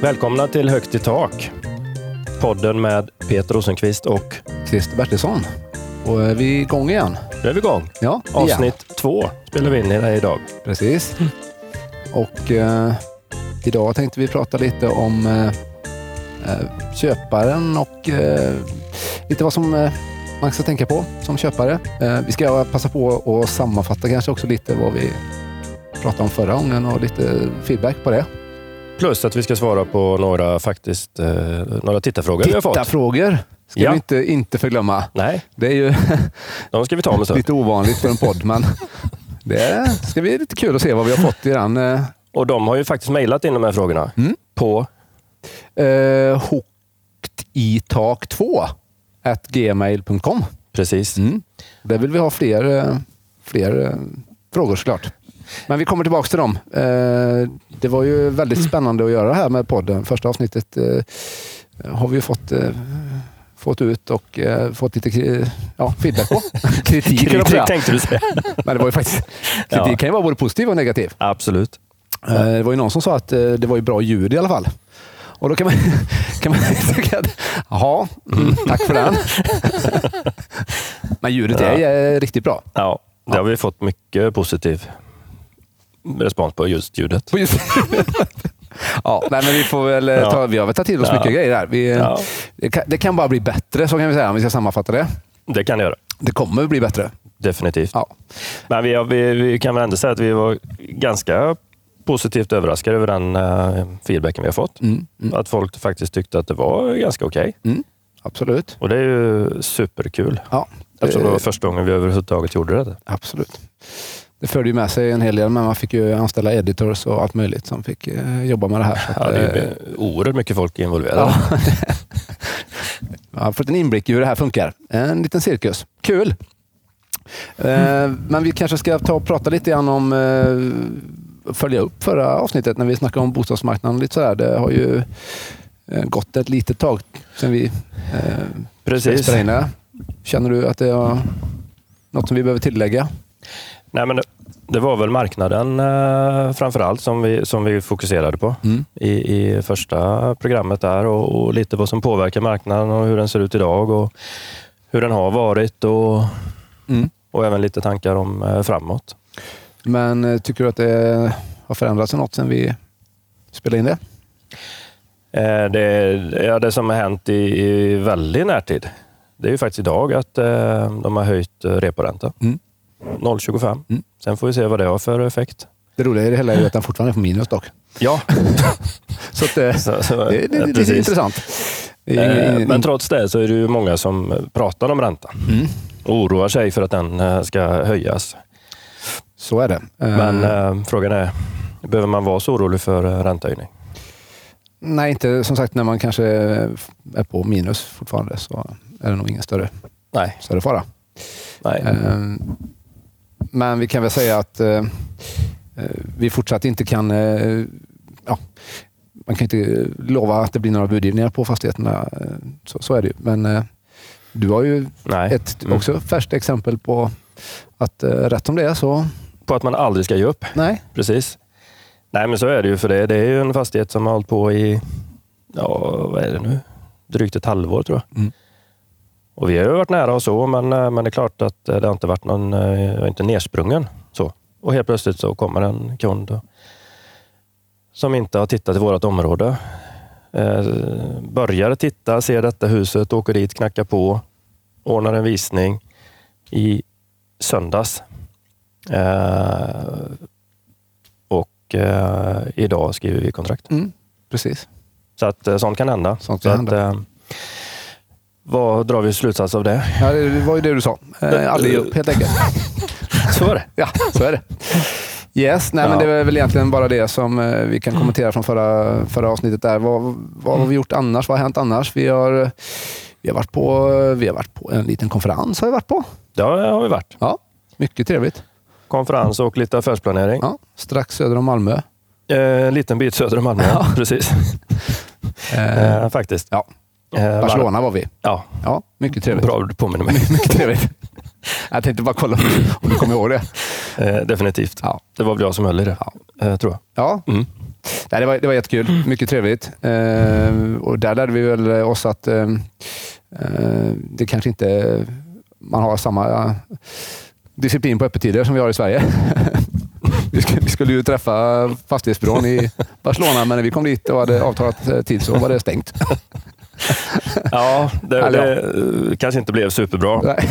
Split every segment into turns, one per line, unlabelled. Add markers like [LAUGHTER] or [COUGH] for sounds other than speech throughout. Välkomna till Högt i tak. Podden med Peter Rosenqvist och
Christer Bertilsson. Och är vi igång igen?
nu är vi igång.
Ja, igen.
Avsnitt två spelar vi in i det idag.
Precis. Och eh, idag tänkte vi prata lite om eh, eh, köparen och eh, lite vad som eh, man ska tänka på som köpare. Eh, vi ska passa på att sammanfatta kanske också lite vad vi pratade om förra gången och lite feedback på det.
Plus att vi ska svara på några faktiskt eh, några tittarfrågor vi har fått.
frågor ska
Ja.
vi inte, inte förglömma.
Nej,
Det är ju [LAUGHS]
de ska vi ta om en stund.
lite ovanligt för en podd, men det ska bli lite kul att se vad vi har fått i den. Eh,
Och de har ju faktiskt mejlat in de här frågorna.
Mm.
På,
eh, hooked i tak 2 at gmail.com.
precis.
Mm. Där vill vi ha fler, eh, fler eh, frågor såklart. Men vi kommer tillbaka till dem. Eh, det var ju väldigt spännande att göra det här med podden. Första avsnittet eh, har vi ju fått, eh, fått ut och eh, fått lite kri- ja, feedback på. Kritik, höll jag på
Kritik
att säga.
tänkte du säga.
Men det var ju [LAUGHS] faktiskt,
Ja.
kritik kan ju vara både positiv och negativ.
Absolut.
Eh, Det var ju någon som sa att eh, det var ju bra ljud i alla fall. Och då kan man, [LAUGHS] kan man tycka att, jaha, mm, tack för [LAUGHS] den. Men ljudet är eh, riktigt bra.
Ja, det har vi fått mycket positiv respons på just ljudet.
På just- [LAUGHS] ja, nej, men vi får väl eh, ta, vi har väl tagit till oss mycket grejer där. Vi, eh,
Ja.
det, kan, det kan bara bli bättre, så kan vi säga, om vi ska sammanfatta det.
Det kan det göra.
Det kommer bli bättre.
Definitivt.
Ja.
Men vi, har- vi, vi kan väl ändå säga att vi var ganska positivt överraskade över den eh, feedbacken vi har fått.
Mm,
Att folk faktiskt tyckte att det var ganska okej.
Mm, absolut.
Och det är ju superkul.
Ja,
Eftersom det
eh,
var första gången vi överhuvudtaget gjorde det.
Absolut. Det förde ju med sig en hel del, men man fick ju anställa editors och allt möjligt som fick eh, jobba med det här. Så att,
Ja, det är
eh,
ju oerhört mycket folk involverade.
[LAUGHS] Ja. Jag har fått en inblick i hur det här funkar. En liten cirkus. Kul! Eh, Men vi kanske ska ta och prata lite grann om eh, följa upp förra avsnittet när vi snackade om bostadsmarknaden. och Lite sådär. Det har ju eh, gått ett litet tag sedan vi eh,
Precis.
spelade in det. Känner du att det är något som vi behöver tillägga?
Nej, men det, det var väl marknaden eh, framför allt som vi, som vi fokuserade på
Mm.
i, i första programmet där och, och lite vad som påverkar marknaden och hur den ser ut idag och hur den har varit och,
Mm.
och även lite tankar om eh, framåt.
Men eh, tycker du att det har förändrats något sedan vi spelade in det?
Eh, Det, ja, det som har hänt i, i väldigt närtid, det är ju faktiskt idag att eh, de har höjt eh, reporäntan.
Mm.
0,25.
Mm.
Sen får vi se vad det har för effekt.
Det roliga i det hela är ju att den fortfarande är på minus dock.
Ja,
Så att, eh,
[LAUGHS] så, så,
Det är lite,
precis.
lite intressant. Det är ingen-
Eh,
ingen-
Men trots det så är det ju många som pratar om räntan
Mm,
och oroar sig för att den eh, ska höjas.
så är det. Eh,
Men eh, frågan är, behöver man vara så orolig för eh, räntehöjning?
nej, inte som sagt när man kanske är på minus fortfarande så är det nog ingen större,
Nej.
större fara.
Nej.
Eh, men vi kan väl säga att eh, eh, vi fortsatt inte kan... Eh, ja, man kan inte lova att det blir några budgivningar på fastigheterna. Eh, Så, så är det ju. Men eh, du har ju
Nej.
ett också färskt exempel på att eh, rätt som det är så...
På att man aldrig ska ge upp.
Nej.
Precis. Nej, men så är det ju för det. Det är ju en fastighet som har hållit på i, ja, vad är det nu? Drygt ett halvår tror jag.
Mm.
Och vi har ju varit nära och så, men, eh, men det är klart att eh, det har inte varit någon, eh, jag är inte nersprungen så. Och helt plötsligt så kommer en kund och, som inte har tittat i vårt område. Eh, börjar titta, ser detta huset, åker dit, knackar på, ordnar en visning i söndags. Eh, och eh, idag skriver vi kontrakt.
Mm, precis.
Så att eh, sånt kan hända.
Sånt
så
kan
att, eh, vad drar vi slutsats av det?
Ja, det var ju det du sa. Eh, aldrig ge upp helt enkelt.
[LAUGHS] Så är det.
Ja, så är det. Yes, nej, men
Ja.
det är väl egentligen bara det som eh, vi kan kommentera från förra, förra avsnittet. där. Vad, vad har vi gjort annars? Vad har hänt annars? Vi har, vi har, varit, på, vi har varit på en liten konferens. Har vi varit på.
Ja, har vi varit.
Ja, mycket trevligt.
Konferens och lite affärsplanering.
Ja, strax söder om Malmö.
Eh, en liten bit söder om Malmö, ja. [LAUGHS] precis.
Eh,
Eh, faktiskt.
ja,
Eh, var-
Barcelona var vi.
Ja,
Ja, mycket trevligt.
bra du påminner mig.
[LAUGHS] Mycket trevligt. Jag tänkte bara kolla om du kommer ihåg det.
Eh, definitivt.
Ja.
Det var väl jag som höll i det,
Ja.
eh, tror jag.
[LAUGHS] Ja,
Mm.
Nej, det, var, det var jättekul. Mycket trevligt. Eh, och där lärde vi väl oss att eh, eh, det kanske inte man har samma eh, disciplin på öppettider som vi har i Sverige. [LAUGHS] vi, skulle, vi skulle ju träffa fastighetsbyrån i Barcelona, men när vi kom dit och hade avtalat eh, tid så var det stängt.
Ja, det,
Eller
det eh, kanske inte blev superbra.
Nej,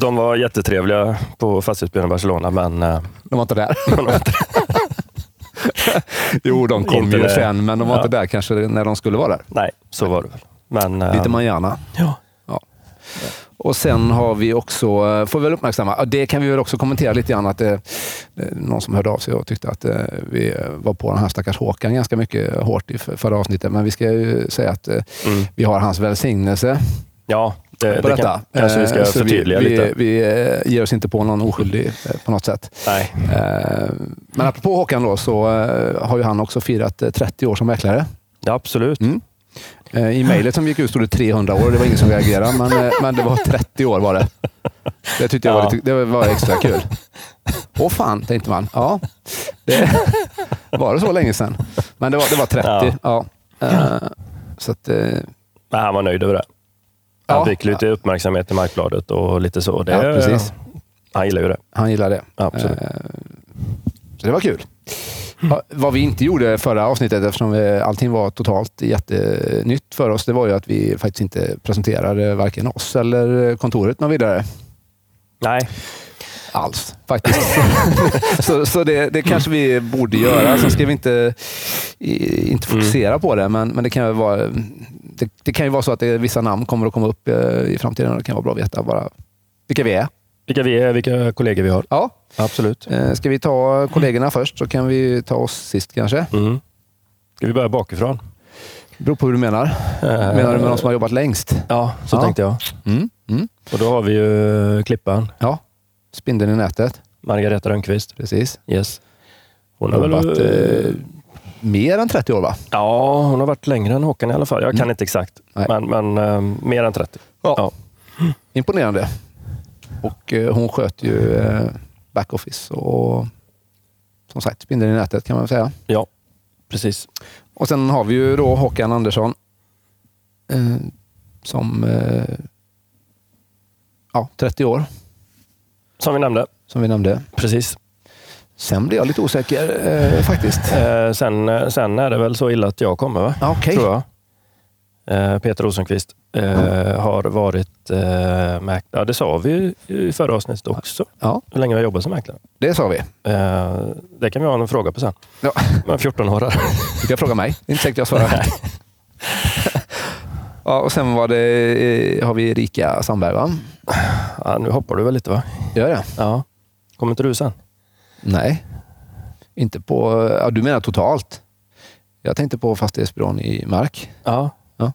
De var jättetrevliga på fastighetsbyrån i Barcelona, men eh, [LAUGHS]
de var inte där.
de var inte-
Jo, de kom
Inte
ju
där.
sen, men de var
Ja.
inte där kanske när de skulle vara där.
nej, så var det väl. Men, eh,
Lite manjana.
ja.
Och sen har vi också, eh, får vi väl uppmärksamma, ja, det kan vi väl också kommentera lite grann, att det, det är någon som hörde av sig och tyckte att eh, vi var på den här stackars Håkan ganska mycket hårt i f- förra avsnittet. Men vi ska ju säga att eh,
Mm.
vi har hans välsignelse
ja, det,
på
det
detta.
kan, kanske vi
Eh,
ska
så
förtydliga
vi,
lite.
Vi, vi eh, ger oss inte på någon oskyldig eh, på något sätt.
Nej.
Eh, Men apropå Håkan då, så eh, har ju han också firat eh, 30 år som mäklare.
Ja, absolut.
Mm. Eh, I mejlet som gick ut stod det 300 år och det var ingen som reagerade, men, eh, men det var 30 år var det. Det tyckte jag var,
Ja.
lite, det var extra kul. Åh fan, tänkte man. Ja, det, [LAUGHS] var det så länge sedan? Men det var, det var 30. Ja.
Ja.
Eh, Så att, eh,
Men han var nöjd över det. Han
Ja.
fick lite uppmärksamhet i Markbladet och lite så. Det,
Ja, precis.
Han gillar ju det.
han gillade det.
Ja, absolut.
Eh, Så det var kul. Ja, Vad vi inte gjorde förra avsnittet, eftersom eh, allting var totalt jättenytt för oss, det var ju att vi faktiskt inte presenterade varken oss eller kontoret något vidare.
Nej,
alls faktiskt. så så det, det kanske vi borde göra. Sen ska vi inte, i- inte fokusera på det, men, men det, kan ju vara, det, det kan ju vara så att det, vissa namn kommer att komma upp eh, i framtiden och det kan vara bra att veta bara vilka vi är.
vilka vi är, vilka kollegor vi har.
Ja.
Absolut.
Eh, Ska vi ta kollegorna först så kan vi ta oss sist kanske.
Mm. Ska vi börja bakifrån?
Beror på hur du menar. Eh. Menar du med de som har jobbat längst?
Ja, så
Ja.
tänkte jag.
Mm. Mm.
Och då har vi ju klippan,
Ja, spindeln i nätet.
Margareta Rönnqvist.
Precis.
Yes. Hon har väl...
Jobbat eh, mer än 30 år va?
Ja, hon har varit längre än Håkan i alla fall. Jag kan inte exakt,
Mm. Nej.
men, men eh, mer än 30.
Ja.
Ja.
Imponerande. Och eh, hon sköt ju eh, backoffice och som sagt spindeln i nätet kan man väl säga.
Ja, precis.
Och sen har vi ju då Håkan Andersson eh, som eh, ja, 30 år
Som vi nämnde.
som vi nämnde.
Precis.
Sen blir jag lite osäker eh, faktiskt.
Eh, sen, eh, sen är det väl så illa att jag kommer, va?
Ja, Okej.
tror jag. Eh, Peter Rosenqvist eh, har varit eh, mäklare. Ja, det sa vi ju i förra avsnittet också,
Ja,
hur länge vi har jobbat som mäklare.
det sa vi.
Eh, det kan vi ha en fråga på sen.
Ja.
Men 14 år [LAUGHS] här.
Du kan fråga mig. Det är inte säkert jag svarar. [LAUGHS] ja, och sen var det, eh, har vi Erika Sandberg va?
Ja, nu hoppar du väl lite, va?
Gör det?
Ja. Kommer inte du sen?
Nej. Inte på... eh, Ja, du menar totalt? Jag tänkte på fastighetsbyrån i Mark.
Ja.
Ja.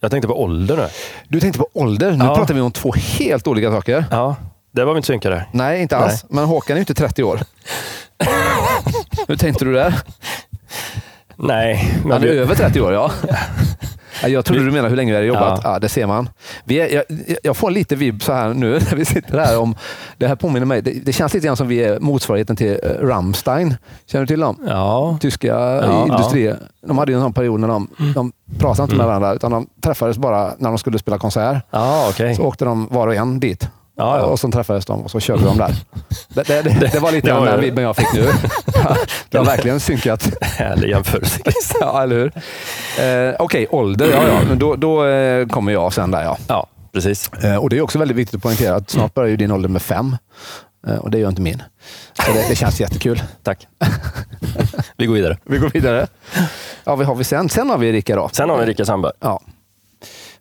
Jag tänkte på ålder nu.
Du tänkte på ålder. Nu
Ja.
pratar vi om två helt olika saker.
Ja, det var vi inte synkade.
Nej, inte alls. Men Håkan är ju inte 30 [LAUGHS] år. Hur tänkte du där?
Nej, men
Han är
vi,
över 30 år, [LAUGHS] ja. Ja, Jag trodde du menar hur länge vi har jobbat. Ja.
Ja.
det ser man. Vi är, jag, jag får lite vibb så här nu [LAUGHS] när vi sitter här. om Det här påminner mig. Det, det känns lite grann som vi är motsvarigheten till eh, Rammstein. Känner du till dem?
ja,
tyska
ja.
industrier. De hade ju en sån period när de, de pratade inte med varandra, utan de träffades bara när de skulle spela konsert.
ja okej.
Så åkte de var och en dit.
Ja, ja.
Och så träffades de och så körde de där. Det, det, det, det var lite
det
den
var
där
ju-
vibben jag fick nu. Det har verkligen synkat.
[LAUGHS] Härlig jämförelse.
[LAUGHS] Ja, eller hur? Eh, Okej, ålder. Ja, ja. Men då, då eh, kommer jag sen där. Ja. Mm.
Ja, precis.
Eh, och Det är också väldigt viktigt att poängtera att snart börjar ju din ålder med fem. Eh, och det är ju inte min. Så det, det känns jättekul.
[LAUGHS] Tack. Vi går vidare.
[LAUGHS] Vi går vidare. Ja, vad har vi sen? Sen har vi Erika då.
Sen har vi Rika Sandberg.
Ja,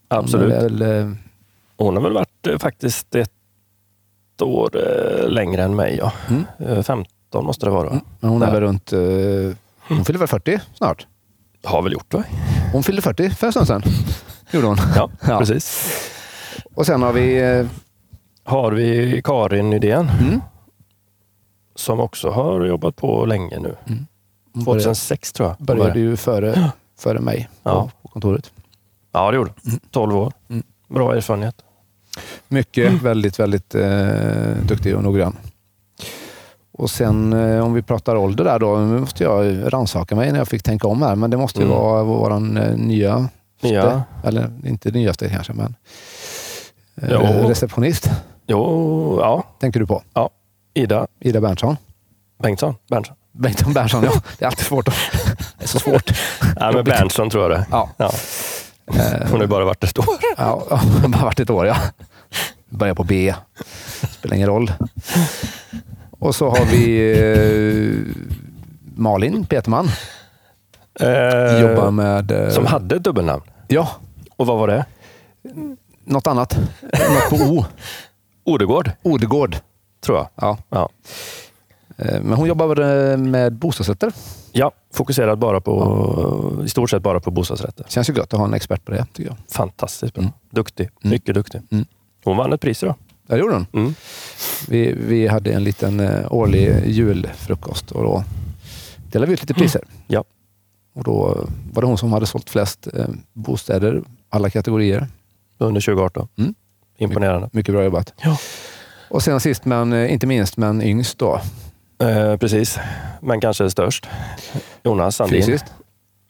Absolut.
Det är väl, eh,
Hon har väl varit eh, faktiskt ett år eh, längre än mig. Ja.
Mm.
Eh, 15 måste det vara. va?
men hon är
Där.
väl runt... eh, Hon fyller väl 40 snart?
Har väl gjort va?
Hon fyllde 40 för en
[LAUGHS]
stund sedan. Gjorde hon.
Ja,
Ja.
precis.
Och sen har vi... eh,
Har vi Karin Nydén
Mm,
som också har jobbat på länge nu.
hon började,
2006 tror jag. hon
började
började.
ju före, före mig på,
Ja.
på kontoret.
Ja, det gjorde hon. 12 år.
Mm.
Bra erfarenhet.
Mycket, väldigt, väldigt eh, duktig och noggrann. Och sen eh, om vi pratar ålder där då, nu måste jag rannsaka mig när jag fick tänka om här, men det måste ju
Mm.
vara vår eh, nya,
Nya,
eller inte nyaste kanske, men eh,
Jo.
receptionist
jo, ja,
tänker du på.
Ida
Ida Berntsson.
Bengtsson. Berntsson.
Bengtsson Berntsson, ja. Det är alltid svårt. att- Det är så svårt.
Nej, men Berntsson tror jag det
Ja.
ja.
Eh,
Hon har ju bara varit ett år.
Ja, ja, bara varit ett år ja. Börjar på B. Spelar ingen roll. Och så har vi eh, Malin Peterman.
Eh,
[LAUGHS] Jobbar med... Eh,
Som hade ett dubbelnamn.
Ja,
Och vad var det?
något annat. Något på O.
Odegård,
Odegård.
tror jag.
Ja.
Ja.
Eh, Men hon jobbar eh, med bostadsrätter.
Ja, fokuserad bara på, i stort sett bara på bostadsrätter.
Känns ju gött att ha en expert på det, tycker jag.
Fantastiskt bra.
Mm.
Duktig. Mycket duktig.
Mm.
Hon vann ett pris idag.
Ja, det gjorde hon.
Mm.
Vi, vi hade en liten eh, årlig julfrukost och då delade vi ut lite priser.
Mm. Ja.
Och då var det hon som hade sålt flest eh, bostäder, alla kategorier.
Under 2018.
Mm.
Imponerande.
Mycket bra jobbat.
Ja.
Och sen sist, men eh, inte minst, men yngst då.
Eh, precis. Men kanske störst. Jonas Sandin.
Fysiskt?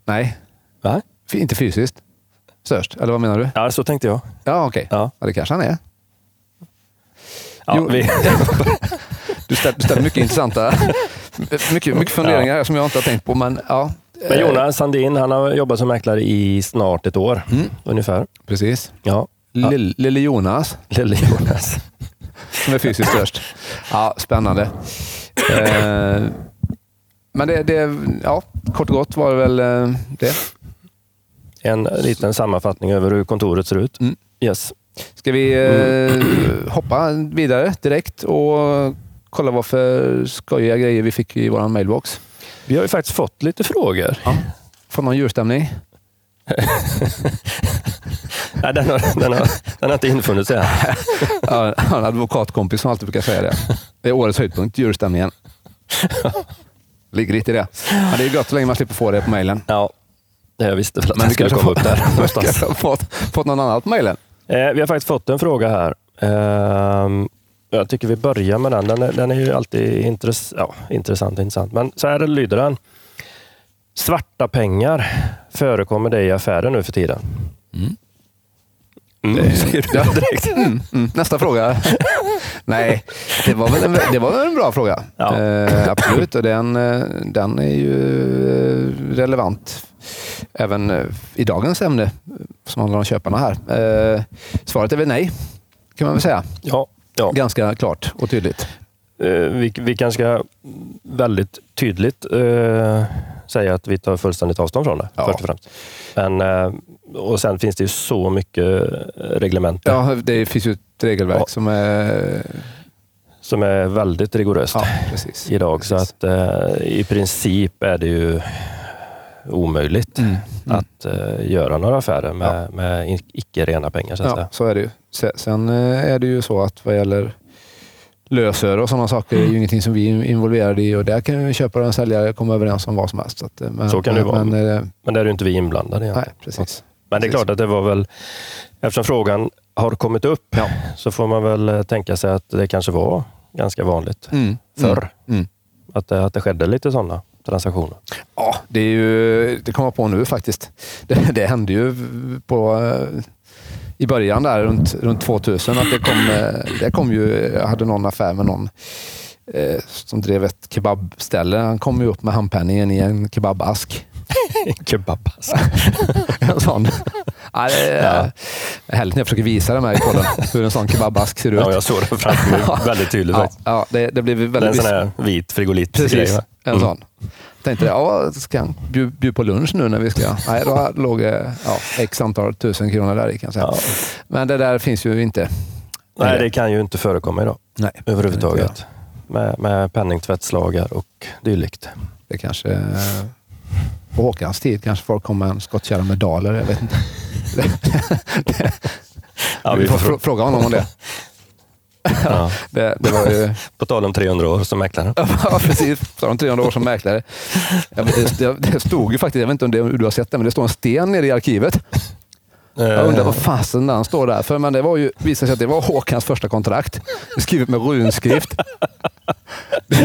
Nej.
Va?
F- inte fysiskt. Störst, eller vad menar du?
Ja, så tänkte jag.
Ja, okej.
Ja.
Ja, det kanske han är.
Ja,
Jo. [LAUGHS]
vi,
Du ställer, du ställer mycket [LAUGHS] intressanta... Mycket, mycket funderingar som jag inte har tänkt på, men ja.
men
Eh,
Jonas Sandin, han har jobbat som mäklare i snart ett år
Mm.
ungefär.
Precis.
Ja, Ja.
Lill- Lille Jonas.
lille Jonas.
som är fysiskt störst. Ja, spännande. Eh, men det, det, ja, kort och gott var det väl eh, det.
En liten sammanfattning över hur kontoret ser ut.
Mm.
Yes.
Ska vi eh, hoppa vidare direkt och kolla vad för skojiga grejer vi fick i vår mailbox?
Vi har ju faktiskt fått lite frågor.
Får någon djurstämning?
Nej, den, har, den, har, den har inte infunnit sig än.
Ja, jag har en advokatkompis som alltid brukar säga det. Det är årets höjdpunkt, djurstämningen. Ligger lite i det. Ja, det är gott så länge man slipper få det på mejlen.
Ja, det jag visste väl att
Men
den
vi
skulle
kanske
komma
får-
upp där
[LAUGHS] vi
någonstans.
kanske har fått, fått någon annan på mejlen.
Eh, vi har faktiskt fått en fråga här. Ehm, jag tycker vi börjar med den. Den är, den är ju alltid intress ja, intressant, intressant. Men så här lyder den. Svarta pengar förekommer det i affärer nu för tiden? Mm. [LAUGHS] säger du direkt.
Mm, mm.
[LAUGHS]
Nästa fråga. Nej, det var väl en, det var väl en bra fråga.
Ja.
Eh, absolut, och den, eh, den är ju eh, relevant även eh, i dagens ämne eh, som handlar om köparna här. Eh, svaret är väl nej, kan man väl säga.
Ja, ja.
Ganska klart och tydligt.
Eh, vi, vi kanske ska väldigt tydligt eh, säga att vi tar fullständigt avstånd från det,
Ja.
först och främst. Men, eh, och sen finns det ju så mycket eh, reglementer
Ja, det finns ju ett regelverk
Ja.
som är...
som är väldigt rigoröst
Ja, precis.
idag. Så
Precis.
att eh, i princip är det ju omöjligt
Mm, mm.
att eh, göra några affärer med, med i- icke rena pengar. Så att
Ja,
säga.
så är det ju. Se- Sen eh, är det ju så att vad gäller lösöre och sådana saker
Mm.
är ju ingenting som vi är involverade i och där kan ju köpare och säljare komma överens om vad som helst. Så, att, eh, men,
Så kan det vara.
Men, eh,
Men där är ju inte vi inblandade. egentligen.
nej, precis.
Men det är
Precis.
klart att det var väl, eftersom frågan har kommit upp,
Ja.
så får man väl eh, tänka sig att det kanske var ganska vanligt
Mm.
förr.
Mm.
Att, det, att det skedde lite sådana transaktioner.
[LAUGHS] Ja, det, är ju, det kommer jag på nu faktiskt. [LAUGHS] Det, det hände ju på, eh, i början där runt, runt 2000 att det kom, eh, det kom ju, jag hade någon affär med någon eh, som drev ett kebabställe. Han kom ju upp med handpenningen i en kebabask.
Kebab.
En sån. Ja, det är eh, härligt när jag försöker visa dem här i podden, hur en sån kebabask ser ut.
Ja, jag såg det framför mig väldigt tydligt.
[LAUGHS] ja,
faktiskt.
ja, det, det blir
det är en
väldigt...
sån här vit frigolit
Precis,
va? Mm.
en sån. Tänkte det, ja, ska han bjud, bjud på lunch nu när vi ska... Nej, då låg eh, ja, x antal tusen kronor där i kan jag säga.
Ja.
Men det där finns ju inte.
Nej, det kan ju inte förekomma idag
Nej,
överhuvudtaget. Med, med penningtvättslagar och dylikt.
det kanske... eh, På Håkans tid kanske folk kom med en skottkärra med daler, jag vet inte.
Ja,
vi,
vi
får
får,
frå- fråga honom om det.
ja.
Det, det var ju...
På tal om 300 år som mäklare.
[LAUGHS] Ja, precis. Så har de 300 år som mäklare. Jag vet- Det, det stod ju faktiskt, jag vet inte om det, du har sett det, men det står en sten nere i arkivet. Jag undrar
Eh,
vad fasen den står där för, men det var ju, visade sig att det var Håkans första kontrakt. Skrivet med runskrift. Det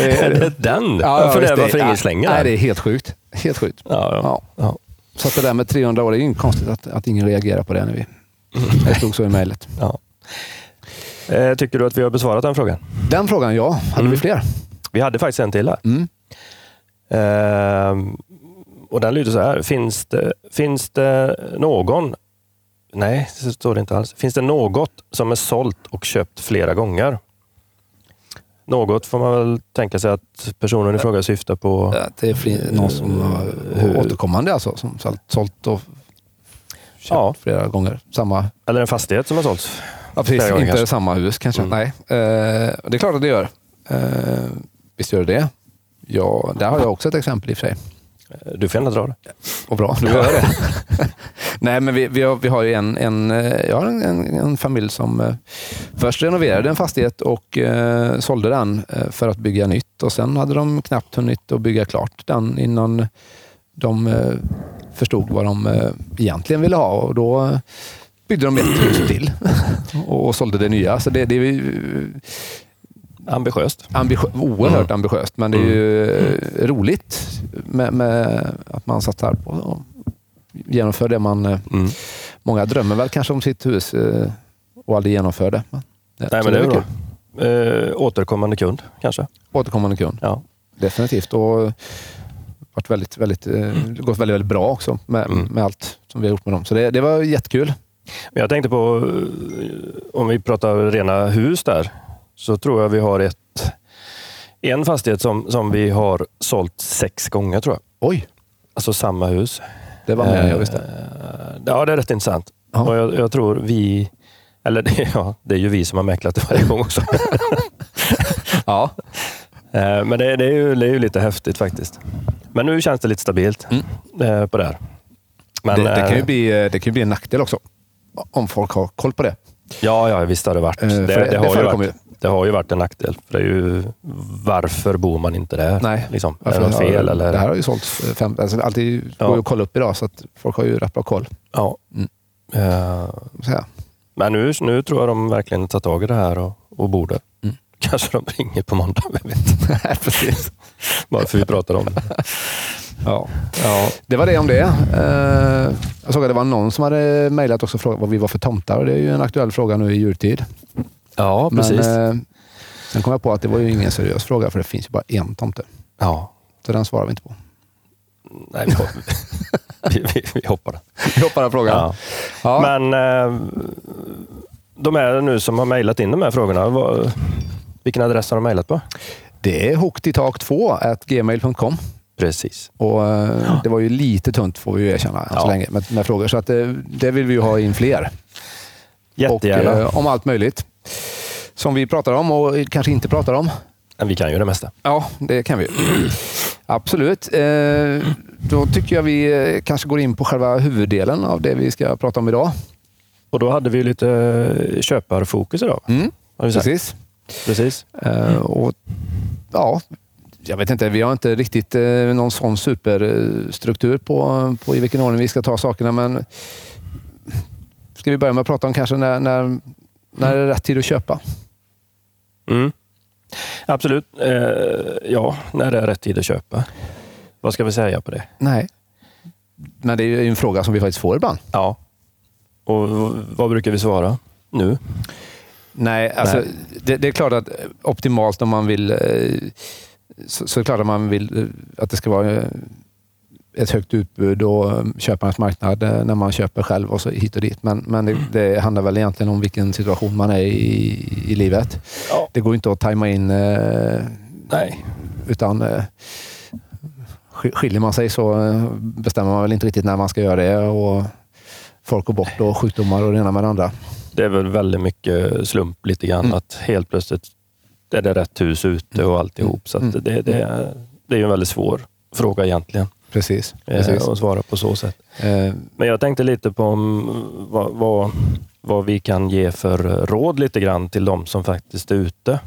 Är
är-
det den?
Ja, ja,
för det är
visst,
varför ingen
ja,
slänger
Nej,
den?
det är helt sjukt. Helt sjukt.
Ja, ja.
Ja. Så att det där med 300 år, det är ju inte konstigt att, att ingen reagerar på det när vi... Det stod så i mejlet.
Ja. Eh, Tycker du att vi har besvarat den frågan?
Den frågan, ja. Hade
Mm.
vi fler?
Vi hade faktiskt en till här.
Mm.
Ehm, och den lyder så här. Finns det, finns det någon... Nej, så står det inte alls. Finns det något som är sålt och köpt flera gånger? Något får man väl tänka sig att personen i fråga syftar på.
Att Det är fler, någon som har
Mm. Hur-
återkommande alltså, som sålt, sålt och köpt
Ja.
flera gånger. Samma,
Eller en fastighet som har sålts.
ja, precis,
Flera gånger
inte
kanske.
samma hus kanske.
Mm.
Nej, Eh, det är klart att det gör. Eh, visst gör det det. Ja, där har jag också ett exempel i och för sig.
Du får gärna dra det.
Och bra, nu gör jag det. [LAUGHS] Nej, men vi, vi, har, vi har ju en, en, eh, jag har en, en, en familj som eh, först renoverade en fastighet och eh, sålde den eh, för att bygga nytt. Och Sen hade de knappt hunnit att bygga klart den innan de eh, förstod vad de eh, egentligen ville ha. Och då eh, byggde de ett hus till [LAUGHS] och, och sålde det nya. Så det, det är ju
Ambitiöst.
ambitio- oerhört
Mm.
ambitiöst, men det är ju eh, roligt med, med att man satsar på och genomför det man... eh,
Mm.
Många drömmer väl kanske om sitt hus eh, och aldrig genomför det. Men,
Nej,
så
men det är
väl
bra.
kul.
Eh, återkommande kund kanske.
Återkommande kund,
Ja.
definitivt. Och varit väldigt, väldigt, eh, gått väldigt, väldigt bra också med,
Mm.
med allt som vi har gjort med dem. Så det, det var jättekul.
Men Jag tänkte på, eh, om vi pratar rena hus där, så tror jag vi har ett, en fastighet som, som vi har sålt sex gånger tror jag.
Oj,
Alltså samma hus.
det var mer än jag visste.
Eh, Ja, det är rätt intressant.
Ja.
Och jag, jag tror vi, eller det- [LAUGHS] ja, det är ju vi som har mäklat det varje gång också.
[LAUGHS] Ja.
Eh, Men det, det, är ju, det är ju lite häftigt faktiskt. Men nu känns det lite stabilt
Mm.
eh, på det här. Men,
Det, det, kan ju
eh,
bli, eh, det kan ju bli en nackdel också, om folk har koll på det.
Ja, ja, visst har det varit.
Eh,
det,
för
det,
det- det
har ju
förekommer
varit det har ju varit en nackdel. För det är ju, varför bor man inte där?
Nej.
Liksom, är
Varför
det något
har-
fel? Eller?
Det här har ju sålts eh, fem... Alltså, alltid
Ja.
går ju att kolla upp idag, så att folk har ju rätt bra koll.
Ja.
Mm.
Eh,
Så [LAUGHS] här.
men nu, nu tror jag de verkligen tar tag i det här och, och bor där.
Mm.
Kanske de ringer på måndag, [LAUGHS] vem vet?
Nej, precis.
Bara för vi pratar om det.
Ja.
Ja,
Det var det om det. Eh, Jag såg att det var någon som hade mejlat också och frågat vad vi var för tomtar. och Det är ju en aktuell fråga nu i jultid.
ja precis.
Men, eh, sen kom jag på att det var ju ingen seriös fråga för det finns ju bara en tomte.
ja.
Så den svarar vi
[LAUGHS]
inte på.
Nej, vi, hop- [LAUGHS] vi, vi, vi hoppar det.
Vi hoppar av frågan. Ja.
Ja. Men eh, de här nu som har mejlat in de här frågorna, vad, vilken adress har de mejlat på?
Det är hooktitak2gmail.com.
Precis.
Och, eh, Det var ju lite tunt får vi ju erkänna än så
Ja.
länge med, med frågor. Så att, eh, det vill vi ju ha in fler.
Jättegärna.
Och, eh, om allt möjligt. Som vi pratar om och kanske inte pratar om.
Men vi kan ju det mesta.
Ja, det kan vi. [CLEARS THROAT] Absolut. Eh, Då tycker jag vi eh, kanske går in på själva huvuddelen av det vi ska prata om idag.
Och då hade vi ju lite eh, köparfokus idag.
Mm,
Har vi sagt.
precis.
Precis.
Eh, Och, ja, jag vet inte, vi har inte riktigt eh, någon sån superstruktur på, på i vilken ordning vi ska ta sakerna, men ska vi börja med att prata om kanske när, när, när det är rätt tid att köpa?
Mm. Absolut. Eh, ja, när det är rätt tid att köpa. Vad ska vi säga på det?
Nej. Men det är ju en fråga som vi faktiskt får ibland.
Ja. Och v- vad brukar vi svara nu?
Nej, alltså,
Nej.
Det, det är klart att eh, optimalt om man vill... eh, Så, så är det klart att man vill eh, att det ska vara eh, ett högt utbud och eh, köparens marknad eh, när man köper själv och så hit och dit. Men, men det, det handlar väl egentligen om vilken situation man är i, i livet.
Ja.
Det går inte att tajma in, eh,
Nej.
utan eh, sk- skiljer man sig så eh, bestämmer man väl inte riktigt när man ska göra det. Och folk går bort och sjukdomar och det ena med det andra.
Det är väl väldigt mycket slump lite grann.
Mm.
Att helt plötsligt är det rätt hus ute och alltihop. Så att
Mm.
det, det, är- det är ju en väldigt svår fråga egentligen.
Precis.
Eh, att svara på så sätt.
Eh,
Men jag tänkte lite på om, vad, vad, vad vi kan ge för råd lite grann till de som faktiskt är ute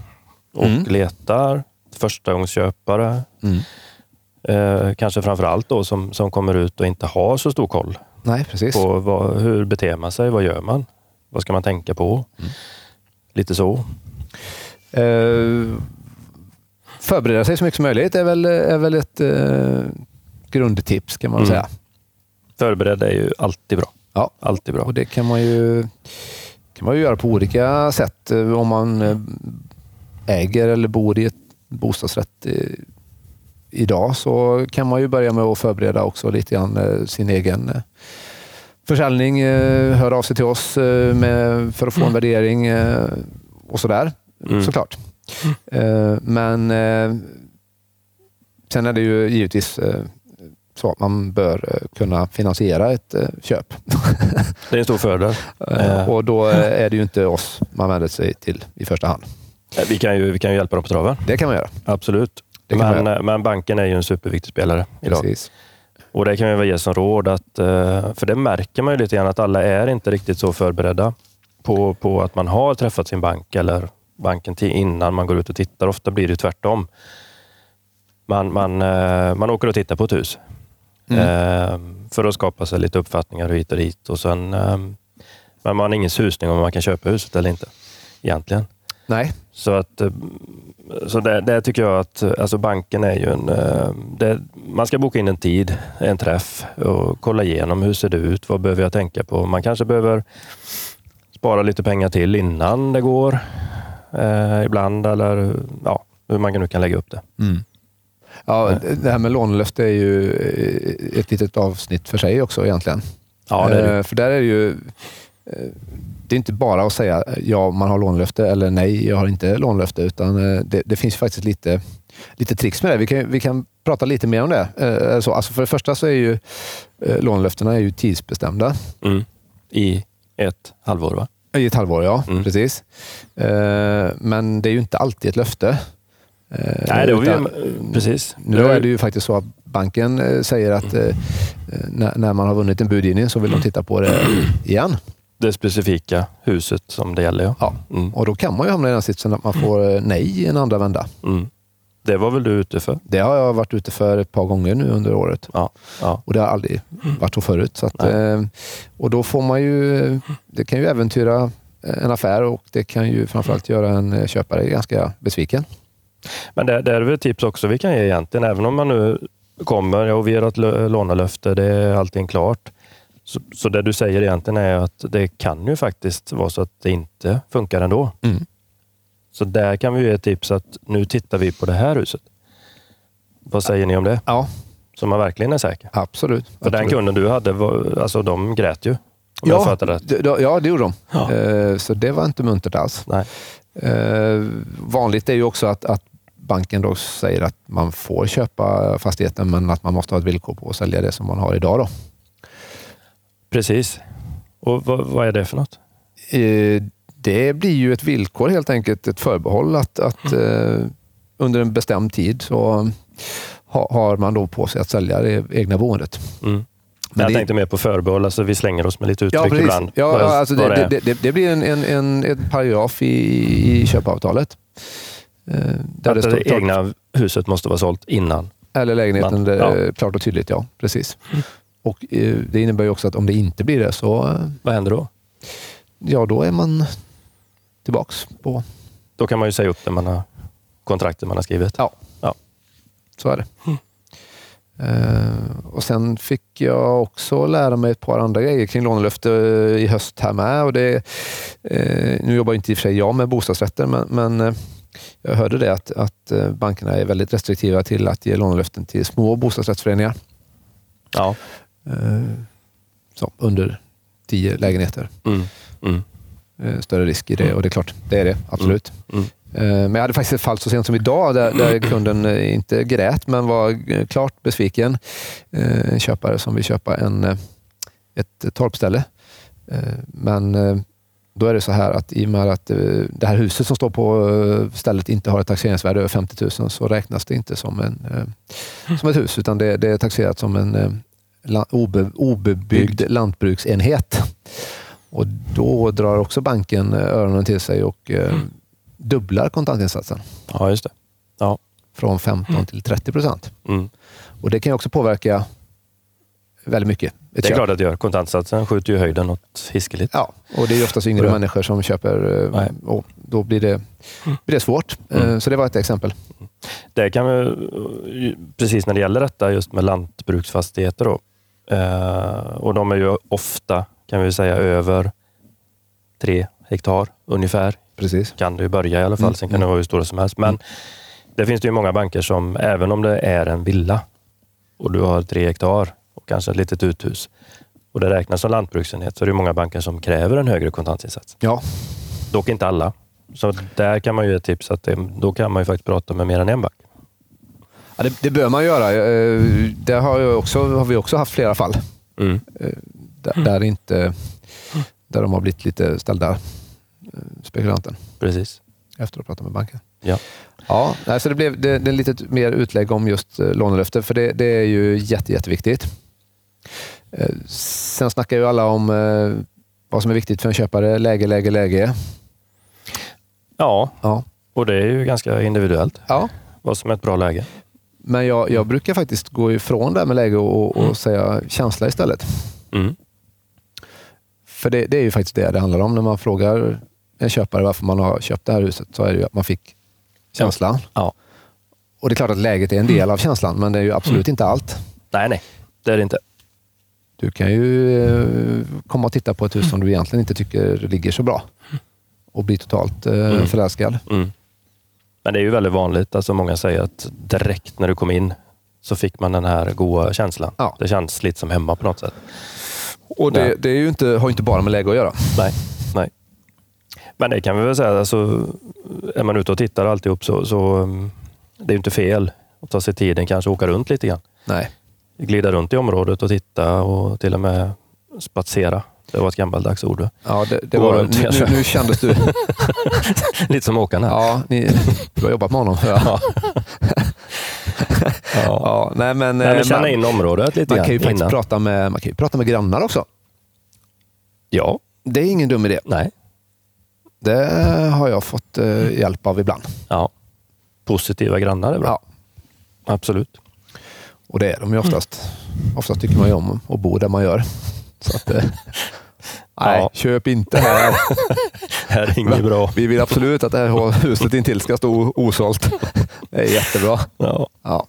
och
Mm.
letar. Förstagångsköpare,
mm.
eh, kanske framför allt då som, som kommer ut och inte har så stor koll
Nej, precis.
på vad, hur
Mm.
beter man sig, vad gör man, vad ska man tänka på? Lite så.
Eh, förbereda sig så mycket som möjligt är väl, är väl ett eh, grundtips kan man
Mm.
säga.
Förberedd är ju alltid bra.
Ja.
Alltid bra.
Och det kan man ju, kan man ju göra på olika sätt eh, om man eh, äger eller bor i ett bostadsrätt eh, idag så kan man ju börja med att förbereda också lite grann eh, sin egen eh, försäljning. eh, Hör av sig till oss eh, med, för att få en värdering eh, och sådär
Mm.
såklart. Eh, Men eh, sen är det ju givetvis eh, så att man bör eh, kunna finansiera ett eh, köp.
Det är en stor fördel.
Eh,
Eh.
Och då eh, är det ju inte oss man vänder sig till i första hand.
Eh, Vi kan ju, vi kan ju hjälpa dem på traven.
Det kan man göra.
Absolut.
Det kan
Men,
man
eh, men banken är ju en superviktig spelare idag.
Precis.
Och det kan vi väl ge som råd, att, eh, för det märker man ju lite grann att alla är inte riktigt så förberedda på, på att man har träffat sin bank eller banken till innan man går ut och tittar. Ofta blir det tvärtom. Man, man, eh, man åker och tittar på ett hus eh, för att skapa sig lite uppfattningar hit och dit. Och sen, eh, men man har ingen susning om man kan köpa huset eller inte egentligen.
Nej,
Så att eh, så där, där tycker jag att eh, alltså banken är ju en... eh, Det, man ska boka in en tid, en träff och kolla igenom hur ser det ut? Vad behöver jag tänka på? Man kanske behöver spara lite pengar till innan det går eh, ibland eller ja, hur man nu kan lägga upp det.
ja, det- det här med lånelöfte är ju eh, ett litet avsnitt för sig också egentligen.
Ja, det är det.
Eh, För där är det ju... eh, Det är inte bara att säga eh, ja, man har lånelöfte eller nej, jag har inte lånelöfte. Utan eh, det, det finns ju faktiskt lite, lite tricks med det. Vi kan, vi kan prata lite mer om det. Eh, Så, alltså för det första så är ju eh, lånelöftena är ju tidsbestämda.
Mm. I ett halvår, va?
I ett halvår, ja.
Mm.
Precis. Eh, Men det är ju inte alltid ett löfte. Eh,
Nej, det var
utan-
ju, precis.
Nu
Det Mm. var ju-
är det ju faktiskt så att banken eh, säger att eh, när, när man har vunnit en budgivning så vill de titta på
[CLEARS THROAT]
det igen.
det specifika huset som det gäller. Ja.
Ja.
Mm.
Och då kan man ju hamna i den sitsen att man får eh, nej i en andra vända.
Mm. Det var väl du ute för?
Det har jag varit ute för ett par gånger nu under året.
Ja. ja.
Och det har aldrig varit så förut. Så att,
Mm. Nej.
eh, och då får man ju... Det kan ju äventyra eh, en affär och det kan ju framförallt göra en eh, köpare ganska besviken.
Men det, det är väl ett tips också vi kan ge egentligen, även om man nu kommer, ja, och vi har ett lö- lånelöfte, det är allting klart. Så, så det du säger egentligen är att det kan ju faktiskt vara så att det inte funkar ändå.
Mm.
Så där kan vi ge ett tips att nu tittar vi på det här huset. Vad säger ni om det?
Ja,
Så man verkligen är säker.
absolut.
För den
absolut.
kunden du hade, var, alltså de grät ju. Om jag
Ja,
fattade rätt.
det, det- ja, det gjorde de.
Ja.
Eh, Så det var inte muntert alls.
Nej.
Eh, vanligt är ju också att, att banken då säger att man får köpa fastigheten men att man måste ha ett villkor på att sälja det som man har idag. Då.
Precis. Och vad, vad är det för något?
Eh, det blir ju ett villkor helt enkelt, ett förbehåll att, att
Mm.
eh, under en bestämd tid så ha, har man då på sig att sälja det egna boendet.
Mm.
Men
jag
det-
tänkte mer på förbehåll, alltså vi slänger oss med lite uttryck ibland.
Ja,
Vad-
ja, alltså
vad
det,
är.
det, det, det blir en, en, en, en paragraf i, i köpavtalet. eh, Där
att
det
det,
står klart,
egna huset måste vara sålt innan.
eller lägenheten,
Man-
det,
ja. Mm.
är klart och tydligt. Ja, precis. Och eh, Det innebär ju också att om det inte blir det så eh,
Vad händer då?
ja, då är man tillbaks på...
Då kan man ju säga upp det man har, kontraktet man har skrivit.
Ja.
Ja.
Så är det. Eh, och Sen fick jag också lära mig ett par andra grejer kring lånelöfte eh, i höst här med. Och det, eh, nu jobbar ju inte i och för sig jag med bostadsrätter, men, men eh, jag hörde det att, att eh, bankerna är väldigt restriktiva till att ge lånelöften till små bostadsrättsföreningar
Ja.
eh, så, under tio lägenheter.
Mm. Mm.
Eh, större risk i det och det är klart, det är det absolut.
Mm.
Eh, Men jag hade faktiskt ett fall så sent som idag där, där kunden eh, inte grät, men var eh, klart besviken. Eh, En köpare som vill köpa en, eh, ett torpställe. Eh, Men eh, då är det så här att i och med att eh, det här huset som står på eh, stället inte har ett taxeringsvärde över 50 000 så räknas det inte som, en, eh, som ett hus, utan det, det är taxerat som en eh, la- obe, obebyggd lantbruksenhet. Och då drar också banken eh, öronen till sig och eh,
Mm.
dubblar kontantinsatsen
ja, just det.
från 15 till 30 procent.
Mm.
Och det kan ju också påverka väldigt mycket. Ett
Det är
köp.
klart att det gör. Kontantsatsen skjuter ju höjden något hiskeligt.
Ja, och det är ju oftast yngre
Bra.
människor som köper eh,
Nej.
och då blir det, blir det svårt. Eh,
Mm.
Så det var ett exempel.
Det kan vi, precis när det gäller detta just med lantbruksfastigheter då. Eh, och de är ju ofta, kan vi säga, över tre hektar ungefär.
Precis.
Kan det ju börja i alla fall.
Mm,
Sen kan det vara hur stora som helst. Men
Mm.
det finns det ju många banker som, även om det är en villa och du har tre hektar och kanske ett litet uthus och det räknas som lantbruksenhet, så är det ju många banker som kräver en högre kontantinsats.
Ja,
Dock inte alla. Så
Mm.
där kan man ju ge tips att det, då kan man ju faktiskt prata med mer än en bank.
ja det, det bör man göra. Eh, Där har, jag också, har vi också haft flera fall Mm. där,
Mm.
där, inte, där de har blivit lite ställda, eh, spekulanten,
Precis.
efter att prata med banken.
Ja.
Ja, nej, så det blev det, det är lite mer utlägg om just eh, lånelöfte, för det, det är ju jätte, jätteviktigt. Eh, Sen snackar ju alla om eh, vad som är viktigt för en köpare. Läge, läge, läge.
ja,
Ja.
och det är ju ganska individuellt
ja.
vad som är ett bra läge.
Men jag, jag brukar faktiskt gå ifrån det här med läge och, och
Mm.
säga känsla istället. Mm. För det, det är ju faktiskt det det handlar om. När man frågar en köpare varför man har köpt det här huset så är det ju att man fick känslan.
Ja. Mm.
Och det är klart att läget är en del av känslan, men det är ju absolut inte allt.
Nej, nej, det är det inte.
Du kan ju eh, komma och titta på ett hus som du egentligen inte tycker ligger så bra och bli totalt eh,
Mm.
förälskad.
Men det är ju väldigt vanligt. Alltså många säger att direkt när du kom in så fick man den här goda känslan.
Ja.
Det känns lite som hemma på något sätt.
Och
det-
är ju inte, har ju inte bara med läge att göra.
Nej, nej. Men det kan vi väl säga, alltså, är man ute och tittar och alltihop så, så um, det är ju inte fel att ta sig tiden kanske åka runt lite grann.
Nej.
Glida runt i området och titta och till och med spatsera. Det var ett gammaldags ord.
Ja, det, det
Gå
var,
runt,
nu, nu, nu kändes
[LAUGHS]
du... [LAUGHS]
lite som åkarna.
Ja, ni, du har jobbat med honom. Ja.
Ja.
Ja, nej, men,
Nej,
eh,
men känna
man,
in området lite
man
grann
kan ju faktiskt
innan.
prata med, man kan ju prata med grannar också.
Ja,
Det är ingen dum idé.
nej.
Det har jag fått eh, hjälp av ibland.
Ja. Positiva grannar är bra.
Ja,
Absolut.
och det är de ju oftast.
Mm.
Oftast tycker man ju om att bo där man gör. Så
[LAUGHS]
att, eh, nej,
Ja.
köp inte här.
Här är inget
Men-
bra.
Vi vill absolut att det här huset intill ska stå osålt. [LAUGHS] Det är jättebra.
Ja.
Ja,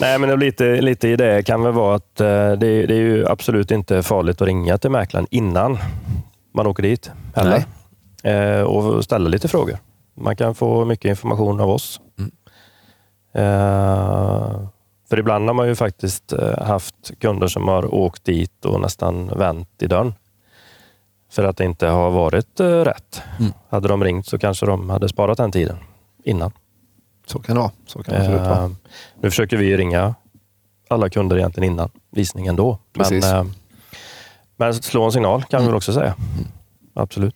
Nej, men det blir lite, lite i det kan väl vara att eh, det, det är ju absolut inte farligt att ringa till mäklaren innan man åker dit. Heller. Eh, och ställa lite frågor. Man kan få mycket information av oss.
Mm.
Eh, för ibland har man ju faktiskt eh, haft kunder som har åkt dit och nästan vänt i dörren för att det inte har varit eh, rätt.
Mm.
Hade de ringt så kanske de hade sparat den tiden innan.
så kan det vara. Så kan det absolut vara.
Eh, nu försöker vi ringa alla kunder egentligen innan visningen då. Men,
Precis. Mm.
eh, men slå en signal kan vi väl också säga. Absolut.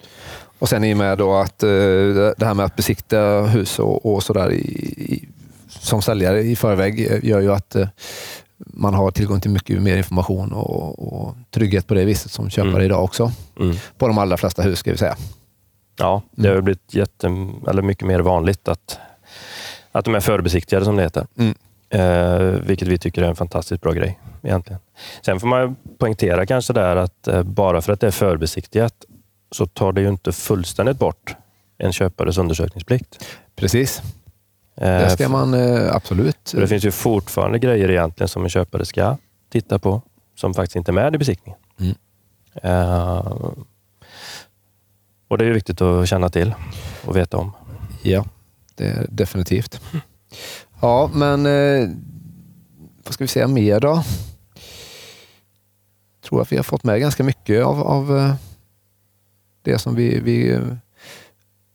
Och sen i och med då att eh, det här med att besikta hus och, och sådär i, i, som säljare i förväg eh, gör ju att eh, man har tillgång till mycket mer information och, och trygghet på det viset som köpare
Mm.
idag också.
Mm.
På de allra flesta hus ska vi säga.
Ja, det
Mm.
har ju blivit jätte, eller mycket mer vanligt att, att de är förbesiktigade som det heter.
Mm.
Eh, vilket vi tycker är en fantastiskt bra grej egentligen. Sen får man ju poängtera kanske där att eh, bara för att det är förbesiktigat så tar det ju inte fullständigt bort en köpares undersökningsplikt.
Precis,
Eh,
det ska man eh, absolut.
Så det finns ju fortfarande grejer egentligen som en köpare ska titta på som faktiskt inte är med i besiktningen.
Mm.
Eh, och det är ju viktigt att känna till och veta om.
Ja, det är definitivt. Ja, men eh, vad ska vi säga mer då? tror att vi har fått med ganska mycket av, av eh, det som vi... vi eh,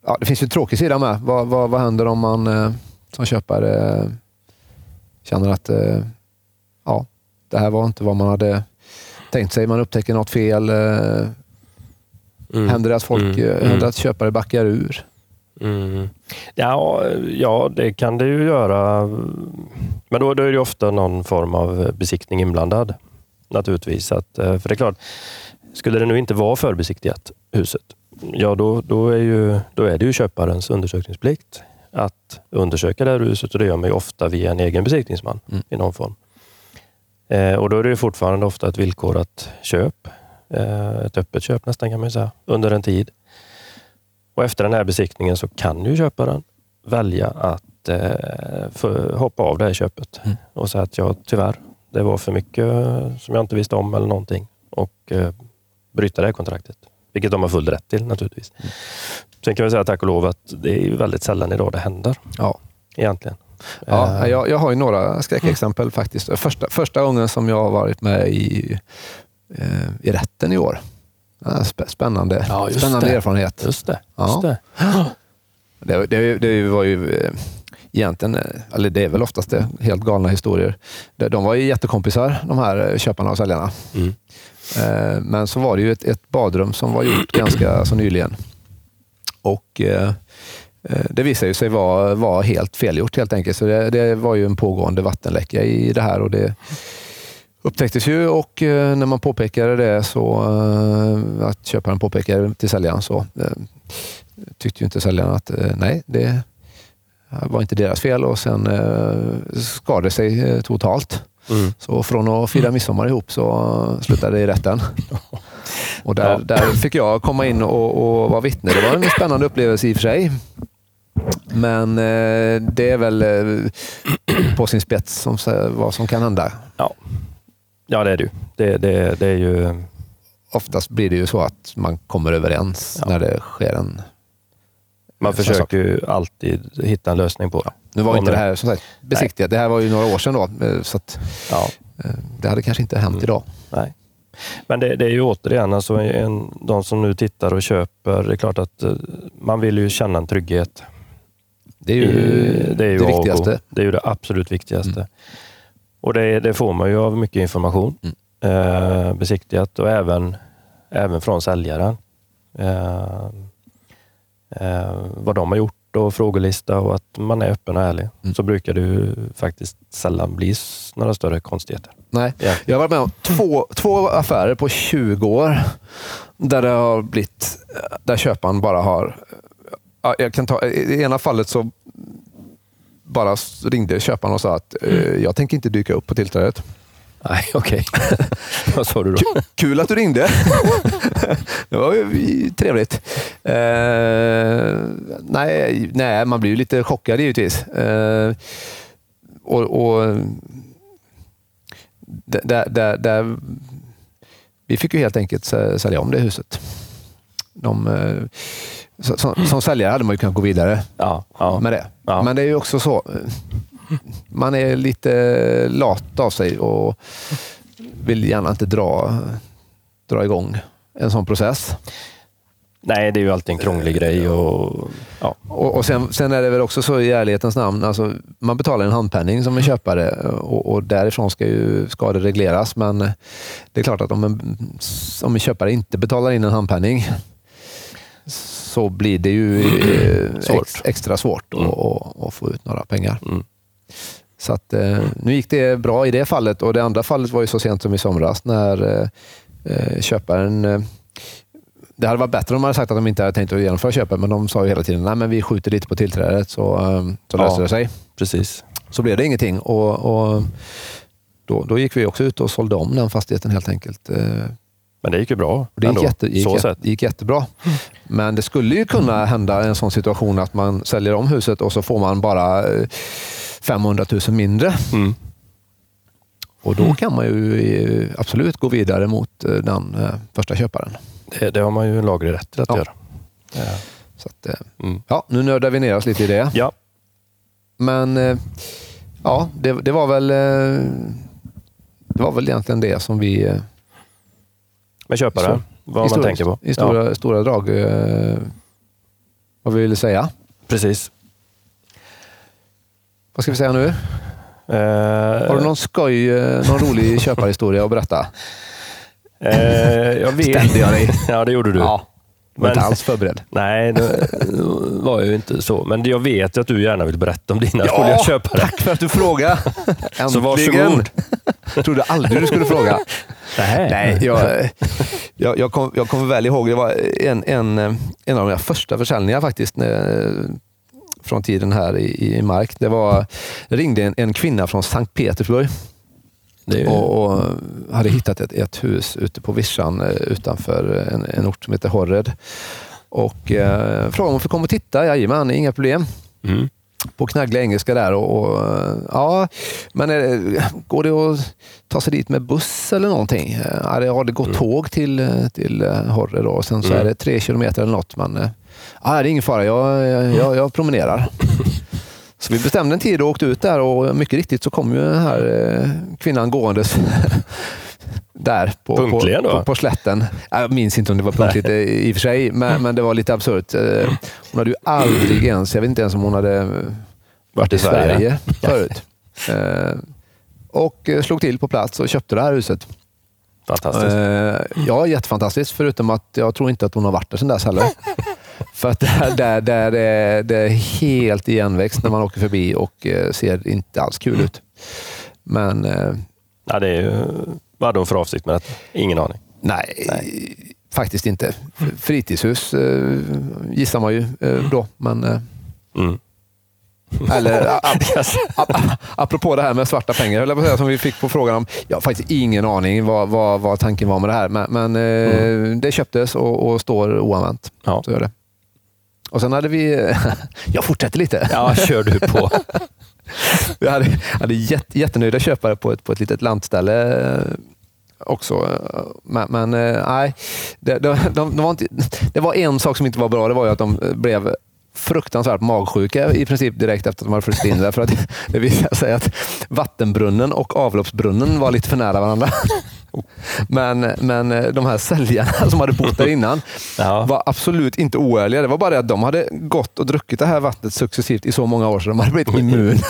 ja, det finns ju en tråkig sida med. Vad, vad, vad händer om man eh, som köpare eh, känner att eh, ja, det här var inte vad man hade tänkt sig. Man upptäcker något fel. Eh, Händer det att, folk,
Mm.
eh,
Mm.
Händer det att köpare backar ur?
Mm. Ja, ja, det kan det ju göra. Men då, då är det ju ofta någon form av besiktning inblandad. Naturligtvis. Att, eh, för det är klart, skulle det nu inte vara förbesiktigat, huset, ja då, då, är ju, då är det ju köparens undersökningsplikt att undersöka det här huset och det gör man ju ofta via en egen besiktningsman
Mm.
i någon form. Eh, och då är det ju fortfarande ofta ett villkorat köp. Eh, ett öppet köp nästan kan man ju säga, under en tid. Och efter den här besiktningen så kan ju köparen välja att eh, få- hoppa av det här köpet
Mm.
och säga att ja, tyvärr, det var för mycket eh, som jag inte visste om eller någonting och eh, bryta det här kontraktet. Vilket de har full rätt till naturligtvis.
Mm.
Sen kan vi säga tack och lov att det är ju väldigt sällan idag det händer.
Ja.
Egentligen.
Ja,
Eh, Mm.
jag, jag har ju några skräckexempel faktiskt. Första, första gången som jag har varit med i, eh, i rätten i år. Ja, spä- Spännande,
Ja, just
spännande
det.
erfarenhet.
Just det.
Ja.
Just det.
Det, det, det var ju eh, egentligen, eh, eller det är väl oftast det, helt galna historier. De, de var ju jättekompisar, de här eh, köparna och säljarna.
Mm.
Eh, Men så var det ju ett, ett badrum som var gjort ganska så nyligen. Och eh, eh, det visade ju sig vara, vara helt felgjort helt enkelt. Så det, det var ju en pågående vattenläcka i det här och det upptäcktes ju och eh, när man påpekade det så, eh, att köparen påpekade till säljaren så eh, tyckte ju inte säljaren att eh, nej, det var inte deras fel och sen eh, skadade sig eh, totalt.
Mm.
Så från att fira midsommar ihop så slutade det
[LAUGHS]
i rätten. Och där,
Ja.
där fick jag komma in och, och vara vittne. Det var en spännande upplevelse i och för sig. Men eh, det är väl eh, på sin spets som, sä- vad som kan hända.
Ja, det är det ju. Det, det, det är ju.
Oftast blir det ju så att man kommer överens
Ja.
när det sker en...
Man
Som sagt.
försöker ju alltid hitta en lösning på det.
Nu var ju
Om
inte det
det-
här som sagt, besiktigat. Det här var ju några år sedan då, eh, så att,
Ja.
eh, det hade kanske inte hänt
Mm.
idag.
Nej. Men det, det är ju återigen, alltså en, de som nu tittar och köper, det är klart att eh, man vill ju känna en trygghet.
Det är ju
I-
Eh, det,
är ju A och O.
viktigaste.
Det är ju det absolut viktigaste.
Mm.
Och det, det får man ju av mycket information
Mm.
eh, besiktigat och även, även från säljaren. Eh, eh, vad de har gjort och frågelista och att man är öppen och ärlig.
Mm.
Så brukar det ju faktiskt sällan bli s- några större konstigheter.
Nej. [LAUGHS]
Ja.
Jag har varit med om två, två affärer på 20 år där det har blivit, där köparen bara har... Ja, Jag kan ta, I det ena fallet så bara ringde köparen och sa att eh,
Mm.
jag tänker inte dyka upp på tillträdet.
Nej, okej. [LAUGHS] vad sa du då?
Kul att du ringde. det var ju trevligt. Eh, nej, nej, man blir ju lite chockad givetvis. Eh, och, och, där- där, där, där, vi fick ju helt enkelt sä- sälja om det huset. De, eh, så- som, som säljare hade man ju kunnat gå vidare
Ja, ja.
med det.
Ja.
Men det är ju också så. Man är lite lat av sig och vill gärna inte dra, dra igång en sån process.
Nej, det är ju alltid en krånglig
Eh,
grej. Och, ja.
Och, och sen, sen är det väl också så i ärlighetens namn, alltså, man betalar en handpenning som en köpare och, och därifrån ska ju skador regleras. Men det är klart att om en, om en köpare inte betalar in en handpenning så blir det ju eh,
Svårt.
Ex, extra svårt att
Mm.
att- att få ut några pengar.
Mm.
Så att, eh, nu gick det bra i det fallet och det andra fallet var ju så sent som i somras när eh, eh, köparen... Eh, det hade varit bättre om de hade sagt att de inte hade tänkt att genomföra köpet, men de sa ju hela tiden nej men vi skjuter lite på tillträdet så, eh,
Ja.
så löser det sig.
Precis.
Så blev det ingenting och, och då, då gick vi också ut och sålde om den fastigheten helt enkelt. Eh,
Men det gick ju bra.
och det gick,
ändå,
jätte, gick,
så
jätte,
sett.
gick jättebra. Men det skulle ju kunna hända en sån situation att man säljer om huset och så får man bara eh, 500 000 mindre.
Mm.
Och då kan man ju eh, absolut gå vidare mot eh, den eh, första köparen.
Det, det har man ju en laglig rätt till att
Ja.
göra. Ja.
Så att, eh,
Mm.
ja, nu nördar vi ner oss lite i det.
ja,
Men eh, ja, det, det var väl eh, det var väl egentligen det som vi eh,
men köparen. Vad
i, stora-
man tänker på.
i stora, stora drag eh, vad vi ville säga.
Ja, precis.
Vad ska vi säga nu?
Eh,
Har du någon skoj, eh,
[LAUGHS]
någon rolig köparhistoria att berätta?
eh, jag vet.
Ställde jag dig?
[LAUGHS] ja, det gjorde du.
Ja, jag var
Men-
inte
[LAUGHS]
alls förberedd.
Nej, det var ju inte så. Men jag vet att du gärna vill berätta om dina
Ja,
roliga köpare.
Tack för att du frågade! Äntligen!
Så varsågod.
Trodde aldrig du skulle fråga.
Nej. [LAUGHS]
Nej, jag, jag, jag, kom, jag kommer väl ihåg, det var en, en, en av mina första försäljningar faktiskt, när, från tiden här i, i Mark. Det var, det ringde en, en kvinna från Sankt Petersburg
Det är ju,
och, och hade hittat ett, ett hus ute på vischan eh, utanför en, en ort som heter Horred. Och eh, frågade om hon fick komma och titta. Jajamän, inga problem.
mm.
På knagglig engelska där. Och, och, eh, ja, men eh, går det att ta sig dit med buss eller någonting? Eh, Ja, det, ja, det går
Mm.
tåg till, eh, till eh, Horred och sen så
Mm.
är det tre kilometer eller något. Men eh, ja, det är ingen fara, jag, jag, jag,
[LAUGHS]
jag promenerar. Så vi bestämde en tid och åkte ut där och mycket riktigt så kom ju den här eh, kvinnan gåendes [LAUGHS] där på, på,
Punktligen då?
på, på slätten. Jag minns inte om det var punktligt eh, i och för sig, men, men det var lite absurt. Eh, Hon hade ju aldrig ens, jag vet inte ens om hon hade eh, varit i Sverige, [LAUGHS] förut. Eh, Och eh, slog till på plats och köpte det här huset.
Fantastiskt.
Eh, ja, jättefantastiskt. Förutom att jag tror inte att hon har varit där sedan dess [LAUGHS] heller. För att där, där, där är det är helt igenväxt när man åker förbi och eh, ser inte alls kul ut. Men eh,
Ja, det är ju, vad hade hon för avsikt med detta? Ingen aning.
nej, faktiskt inte. Fritidshus eh, gissar man ju eh, då. Men, eh,
Mm.
eller, a- a- a- apropå det här med svarta pengar, höll jag på att säga, som vi fick på frågan om. Jag har faktiskt ingen aning vad, vad, vad tanken var med det här, men, men eh, det köptes och, och står oanvänt.
Ja.
Så gör det. Och sen hade vi... [LAUGHS] Jag fortsätter lite.
ja, kör du
[LAUGHS]
på.
Vi hade, hade jätte, jättenöjda köpare på ett, på ett litet lantställe eh, också. eh, Men, men eh, nej, det, de, de, de var inte, det var en sak som inte var bra. Det var ju att de eh, blev fruktansvärt magsjuka i princip direkt efter att de hade flyttat in där. För att [LAUGHS] det visade sig att vattenbrunnen och avloppsbrunnen var lite för nära varandra. [LAUGHS] Men, men eh, de här säljarna som hade bott där innan
Ja.
var absolut inte oärliga. Det var bara det att de hade gått och druckit det här vattnet successivt i så många år så de hade blivit immuna.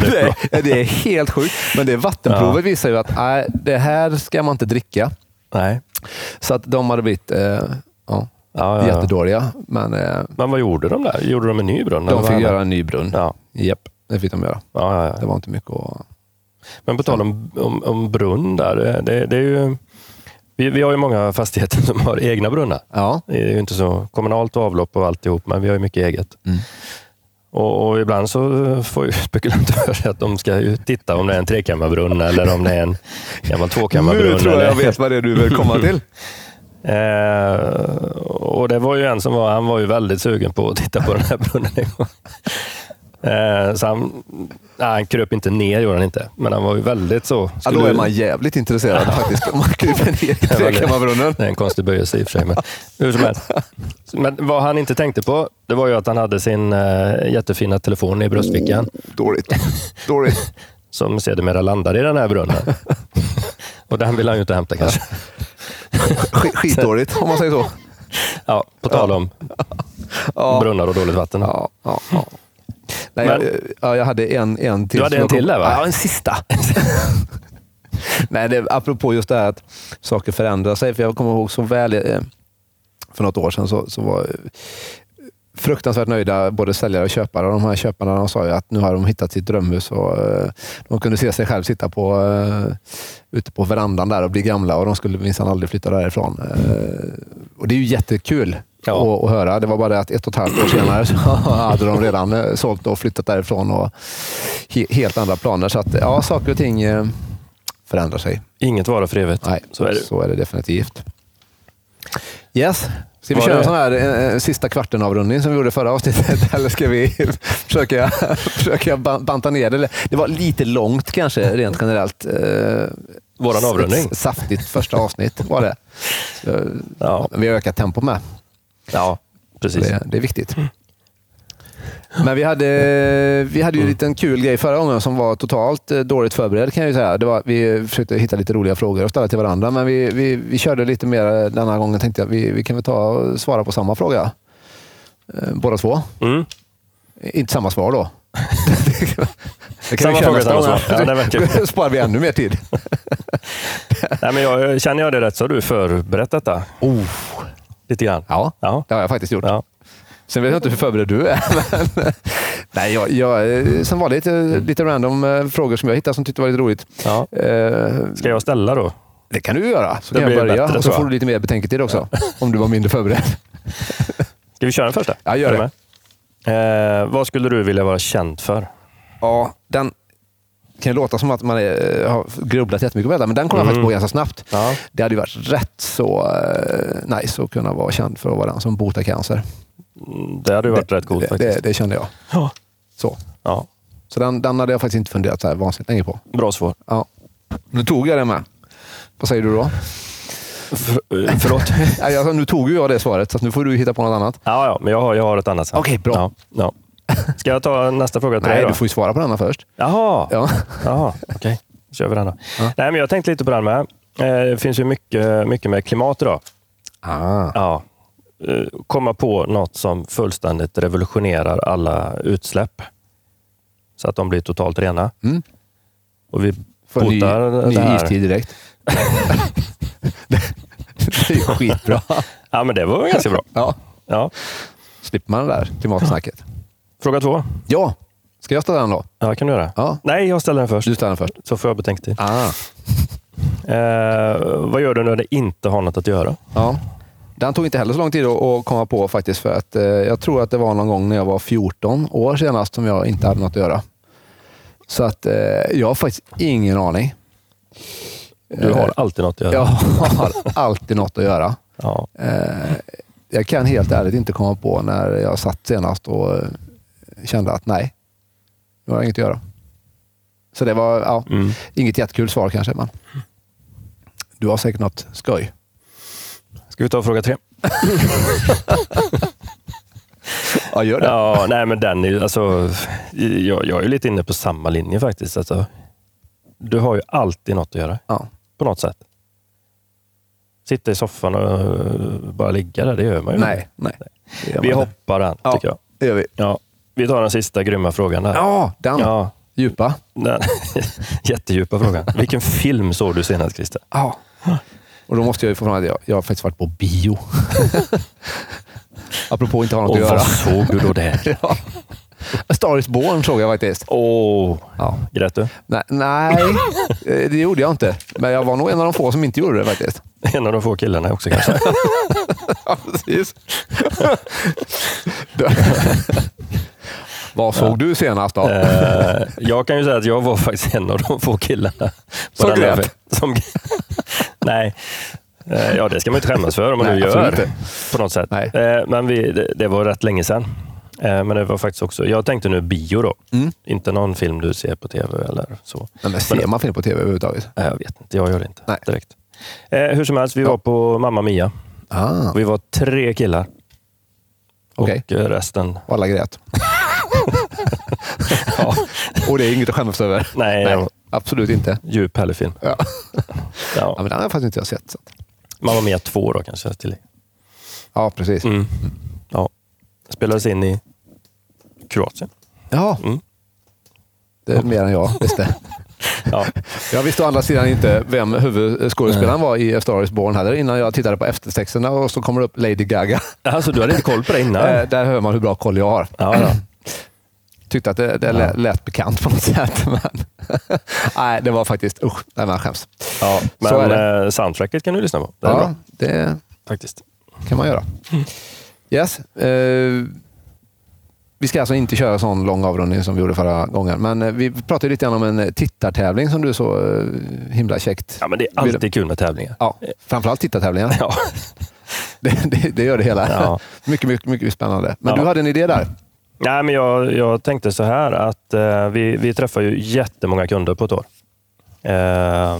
det, är, det är helt sjukt. Men det vattenprovet
Ja.
visar ju att nej, det här ska man inte dricka.
Nej.
Så att de hade blivit eh, ja,
Ja, ja, ja.
jättedåliga. Men eh,
Men vad gjorde de där? Gjorde de en ny brunn? eller
de
vad
fick
hände?
göra en ny brunn.
Ja.
Japp, det fick de göra.
Ja, ja,
Det
ja.
var inte mycket att...
Men på tal om, om, om brunn där. eh, Det, det är ju, vi, vi har ju många fastigheter [LAUGHS] som har egna brunnar.
Ja.
Det är ju inte så kommunalt avlopp och alltihop, men vi har ju mycket eget.
Mm.
Och, och ibland så får ju [LAUGHS] spekulantörer att de ska ju titta om det är en trekammarbrunn eller om det är en gammal tvåkammarbrunn.
Nu tror jag
eller-
jag vet vad det är du vill komma [LAUGHS] till.
Eh, och det var ju en som var, han var ju väldigt sugen på att titta på den här brunnen en gång. Eh, så han, nej, han kröp inte ner, gjorde han inte. Men han var ju väldigt så.
Ja, då är man jävligt intresserad faktiskt. Om man kryper ner i trekammarsbrunnen.
Det är en konstig böjelse i och för sig. Men, hur som helst. men vad han inte tänkte på, det var ju att han hade sin eh, jättefina telefon i bröstfickan
Dåligt. Dåligt.
som sedermera landade i den här brunnen. och den vill han ju inte hämta kanske.
Sk- Skitdåligt om man säger så.
Ja, på tal om
Ja.
brunnar och dåligt vatten.
Ja, ja, ja. Nej,
Men-
jag, ja, jag hade en, en till.
Du hade
som
en
jag
till
kom-
där, va?
Ja, en sista. [LAUGHS] Nej, det, apropå just det här att saker förändrar sig. För jag kommer ihåg så väl eh, för något år sedan så, så var eh, fruktansvärt nöjda både säljare och köpare. Och de här köparna de sa ju att nu har de hittat sitt drömhus och eh, de kunde se sig själv sitta på, eh, ute på verandan där och bli gamla och de skulle minsann aldrig flytta därifrån. Eh, Och det är ju jättekul
Ja.
att, att höra. Det var bara det att ett och ett halvt år senare så [LAUGHS] hade de redan eh, sålt och flyttat därifrån och he, helt andra planer. Så att, ja, saker och ting eh, förändrar sig.
Inget vara för evigt.
Nej,
Så är det.
definitivt. Yes. Ska vi
Var
köra
det-
en sån här eh, eh, sista kvarten avrundning som vi gjorde förra avsnittet? [LAUGHS] Eller ska vi försöka, försöka ban- banta ner det? Eller- Det var lite långt kanske rent generellt. Eh,
Våran avrundning.
Ett saftigt första avsnitt var det. Så,
Ja,
men vi har ökat tempo med.
ja
Så
precis. Mm.
det, det är viktigt. Men vi hade, vi hade ju
Mm.
en liten kul grej förra gången som var totalt eh, dåligt förberedd kan jag ju säga. Det var, vi försökte hitta lite roliga frågor och ställa till varandra, men vi, vi, vi körde lite mer denna gången. Tänkte jag vi, vi kan väl ta och svara på samma fråga. Eh, Båda två.
Mm.
Inte samma
[LAUGHS]
svar då. Det
Samma
vi köra
fråga,
nästa
samma
gång.
svar. Ja, det
[LAUGHS]
verkar-
Då sparar vi ännu mer tid.
Nej, men jag, känner jag det rätt så har du förberett detta
Oh.
lite grann.
Ja,
Ja.
det har jag faktiskt gjort.
Ja.
Sen vet jag inte hur förberedd du är. [LAUGHS] Men, nej, jag, jag, eh, som vanligt eh, lite random eh, frågor som jag hittade som tyckte var lite roligt.
Ja.
Eh,
Ska jag ställa då?
Det kan du göra, så
Det
kan jag
blir
börja.
bättre,
och så
tror jag.
får du lite mer betänketid också, om du var mindre [LAUGHS] förberedd.
Ska vi köra den första?
Ja,
Är
gör
du med? Eh, vad skulle du vilja vara känd för?
Ja, den kan ju låta som att man är, eh, har grubblat jättemycket på detta, men den kom jag
Mm.
faktiskt på ganska snabbt.
Ja.
Det hade ju varit rätt så eh, nice att kunna vara känd för att vara den som botar cancer.
Mm, Det hade ju varit rätt coolt
det,
faktiskt.
det, det kände jag.
Ja.
Så,
Ja,
så den, den hade jag faktiskt inte funderat så här vansinnigt länge på.
bra svar.
Ja. Nu tog jag det med. Vad säger du då?
För, eh, förlåt?
Nej, Alltså, nu tog ju jag det svaret, så att nu får du hitta på något annat.
[LAUGHS] ja, ja, men jag har, jag har ett annat sen.
Okej, bra.
Ja, ja. Ska jag ta nästa fråga till
Nej,
dig då?
du får ju svara på denna först.
Jaha,
Ja.
Jaha, okej. Då kör vi den då.
Ja.
Nej, men jag tänkte lite på den med. Eh, Det finns ju mycket, mycket med klimat idag.
Ah.
Ja. Eh, Komma på något som fullständigt revolutionerar alla utsläpp. Så att de blir totalt rena.
Mm.
Och vi
Får en ny,
botar det
ny
här. [LAUGHS]
istid direkt. det är skitbra.
Ja, men det var ganska [LAUGHS] bra.
Ja.
Ja.
Slipper man det där klimatsnacket.
Fråga två.
Ja, ska jag ställa den då?
Ja, kan du göra.
Ja,
Nej, jag ställer den först.
du ställer den först.
Så får jag betänketid.
Ah.
Eh, vad gör du när det inte har något att göra?
Ja. Den tog inte heller så lång tid att- att komma på faktiskt. För att, eh, jag tror att det var någon gång när jag var 14 år senast som jag inte hade något att göra. Så att, eh, jag har faktiskt ingen aning.
Du har alltid något att göra.
Jag har alltid något att göra.
Ja.
Eh, jag kan helt ärligt inte komma på när jag satt senast och eh, kände att nej, nu har jag inget att göra. Så det var ja,
Mm.
inget jättekul svar kanske, men du har säkert något skoj.
Ska vi ta fråga tre?
Ja, gör det.
Ja, nej men den är ju- alltså, jag, jag är ju lite inne på samma linje faktiskt. Alltså, du har ju alltid något att göra,
Ja.
på något sätt. Sitta i soffan och eh, bara ligga där, det gör man ju
Nej, nej. Det gör
inte. Vi
man
hoppar den,
Ja.
tycker jag.
Det gör vi.
Ja, vi tar den sista grymma frågan där.
Ja, den
Ja,
djupa.
den [LAUGHS] jättedjupa frågan. Vilken film såg du senast, Christer?
Ja. Och då måste jag ju få fram att jag, jag har faktiskt varit på [LAUGHS] bio. Apropå inte ha något
Och
att göra.
vad såg du då där?
[LAUGHS] Ja. A Star is born såg jag faktiskt.
[LAUGHS] Åh,
Ja.
grät du?
Nej, nej, eh, det gjorde jag inte. Men jag var nog en av de få som inte gjorde det faktiskt.
En av de få killarna också [LAUGHS] kanske.
[LAUGHS] Ja, [LAUGHS] precis. [LAUGHS] Vad såg du senast då?
Eh, jag kan ju säga att jag var faktiskt en av de få killarna. på
Som
den här-
grät?
Som, [LAUGHS] nej. Eh, Ja, det ska man ju inte skämmas för om man
Nej,
nu gör.
absolut inte.
På något sätt.
Nej.
Eh, Men vi, det, det var rätt länge sedan. Eh, Men det var faktiskt också, jag tänkte nu bio då.
Mm.
Inte någon film du ser på tv eller så.
Nej, men ser man film på tv överhuvudtaget?
Eh, Jag vet inte, jag gör det inte
Nej.
direkt. Eh, Hur som helst, vi var på Mamma Mia.
Ah,
Och Vi var tre killar.
Okej.
Och eh,
[LAUGHS]
resten,
och alla grät. ja. Och det är inget att skämmas över.
nej,
Nej, absolut inte.
djup härlig film.
Ja. Ja,
Ja.
men den har jag faktiskt inte jag sett. Så. att-
Mamma Mia 2 då kanske till
Ja, precis.
Mm. Ja. Spelades in i
[LAUGHS]
Kroatien.
Ja.
Mm.
Det är mer än jag visste.
Ja.
Jag visste å andra sidan inte vem huvudskådespelaren var i A Star is Born heller innan jag tittade på eftertexterna och så kommer det upp Lady Gaga.
Alltså, du hade inte koll på det innan?
Eh, där hör man hur bra koll jag har.
Ja, ja.
Tyckte att det, det lät, lät bekant på något [LAUGHS] sätt. Men [LAUGHS] nej, det var faktiskt... Usch, nej, men jag skäms.
ja
Så är
men eh, soundtracket kan du lyssna på. Det är
ja,
bra,
det
faktiskt.
kan man göra. Yes. Eh, vi ska alltså inte köra sån lång avrundning som vi gjorde förra gången, men eh, vi pratade lite grann om en eh, tittartävling som du så eh, himla käckt
Ja, men det är alltid kul med tävlingar.
Ja, framförallt tittartävlingar.
Ja.
[LAUGHS] Det, det, det gör det hela.
Ja.
[LAUGHS] Mycket, mycket, mycket spännande. Men
Ja.
du hade en idé där.
Nej, men jag, jag tänkte så här att eh, vi, vi träffar ju jättemånga kunder på ett år. Eh,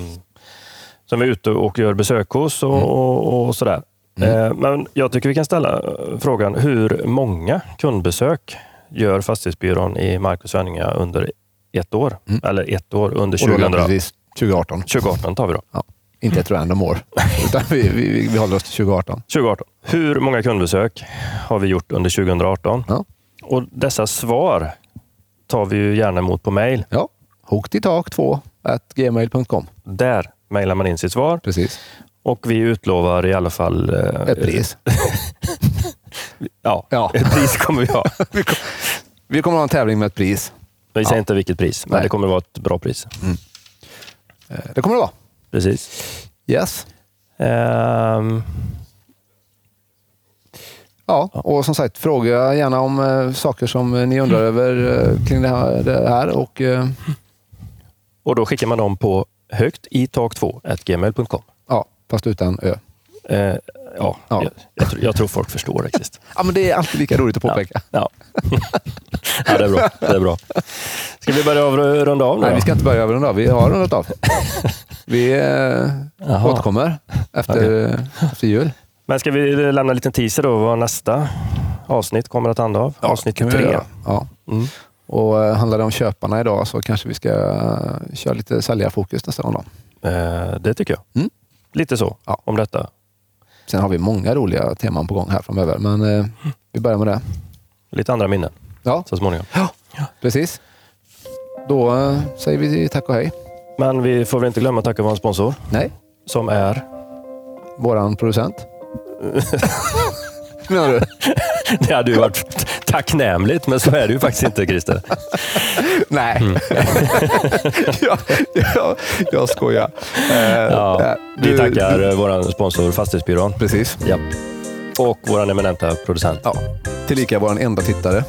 som är ute och gör besök hos
Mm.
och, och, och sådär. Eh, men jag tycker vi kan ställa eh, frågan hur många kundbesök gör fastighetsbyrån i Marcus Svenninga under ett år? Eller ett år under
Mm. Och då var
2000,
det precis 2018.
2018 tar vi då.
Ja. Inte ett
[LAUGHS]
random år, utan vi, vi, vi, vi håller oss till 2018.
2018. Hur många kundbesök har vi gjort under 2018?
Ja.
Och dessa svar tar vi ju gärna emot på mejl.
Ja. Hooktitak2 at gmail.com.
Där mejlar man in sitt svar
Precis.
och vi utlovar i alla fall... eh,
Ett pris.
Ja, [LAUGHS]
Ja.
ett pris kommer vi ha.
Vi, kom, vi kommer ha en tävling med ett pris.
Vi säger inte vilket pris, men
Nej.
det kommer vara ett bra pris.
Eh, Det kommer det vara.
Precis.
Yes.
Ehm,
Ja, och som sagt, fråga gärna om eh, saker som eh, ni undrar över eh, kring det här, det här och eh,
Och då skickar man dem på högt i tak 2 gmail.com.
Ja, fast utan ö.
Eh, ja,
Ja.
Jag, jag, tror, jag tror folk förstår faktiskt.
Ja, men det är alltid lika roligt att påpeka.
Ja. [LAUGHS] ja, det är bra. Det är bra. Ska vi börja av, runda av nu
Nej,
då?
vi ska inte börja över den dag. Vi har rundat av. Vi eh,
Jaha.
återkommer efter, eh, efter jul.
Men ska vi lämna en liten teaser då vad nästa avsnitt kommer att handla av? avsnitt
kan vi
tre.
göra. Ja.
Mm.
Och eh, handlar det om köparna idag så kanske vi ska eh, köra lite säljarfokus nästa gång. Då.
Eh, det tycker jag.
Mm.
Lite så
Ja.
om detta.
Sen har vi många roliga teman på gång här framöver, men eh, vi börjar med det.
Lite andra minnen
Ja,
så småningom.
precis. Då eh, säger vi tack och hej.
Men vi får väl inte glömma att tacka vår sponsor
Nej,
som är... [LAUGHS]
våran producent. [LAUGHS] Menar du?
Det hade ju varit tacknämligt, men så är det ju faktiskt inte
[LAUGHS]
Christer.
Nej. [LAUGHS] jag, jag, jag skojar. Eh,
Ja,
eh,
vi
du-
tackar eh, vår sponsor Fastighetsbyrån
Precis.
ja. och vår eminenta producent.
Ja, tillika vår enda tittare.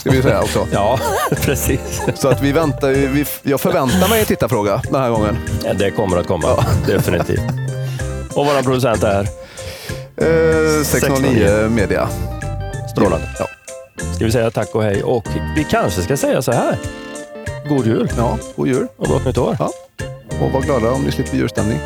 Ska vi säga [LAUGHS] också.
Ja, [LAUGHS] precis.
Så att vi väntar, ju- vi, jag förväntar mig en tittarfråga den här gången.
Det kommer att komma, definitivt. Och vår producent är
Eh, 609
609
media.
strålande.
Ja.
Ska vi säga tack och hej och vi kanske ska säga så här. God jul
ja, god jul.
och gott nytt år.
Ja. Och var glada om ni slipper julstämning.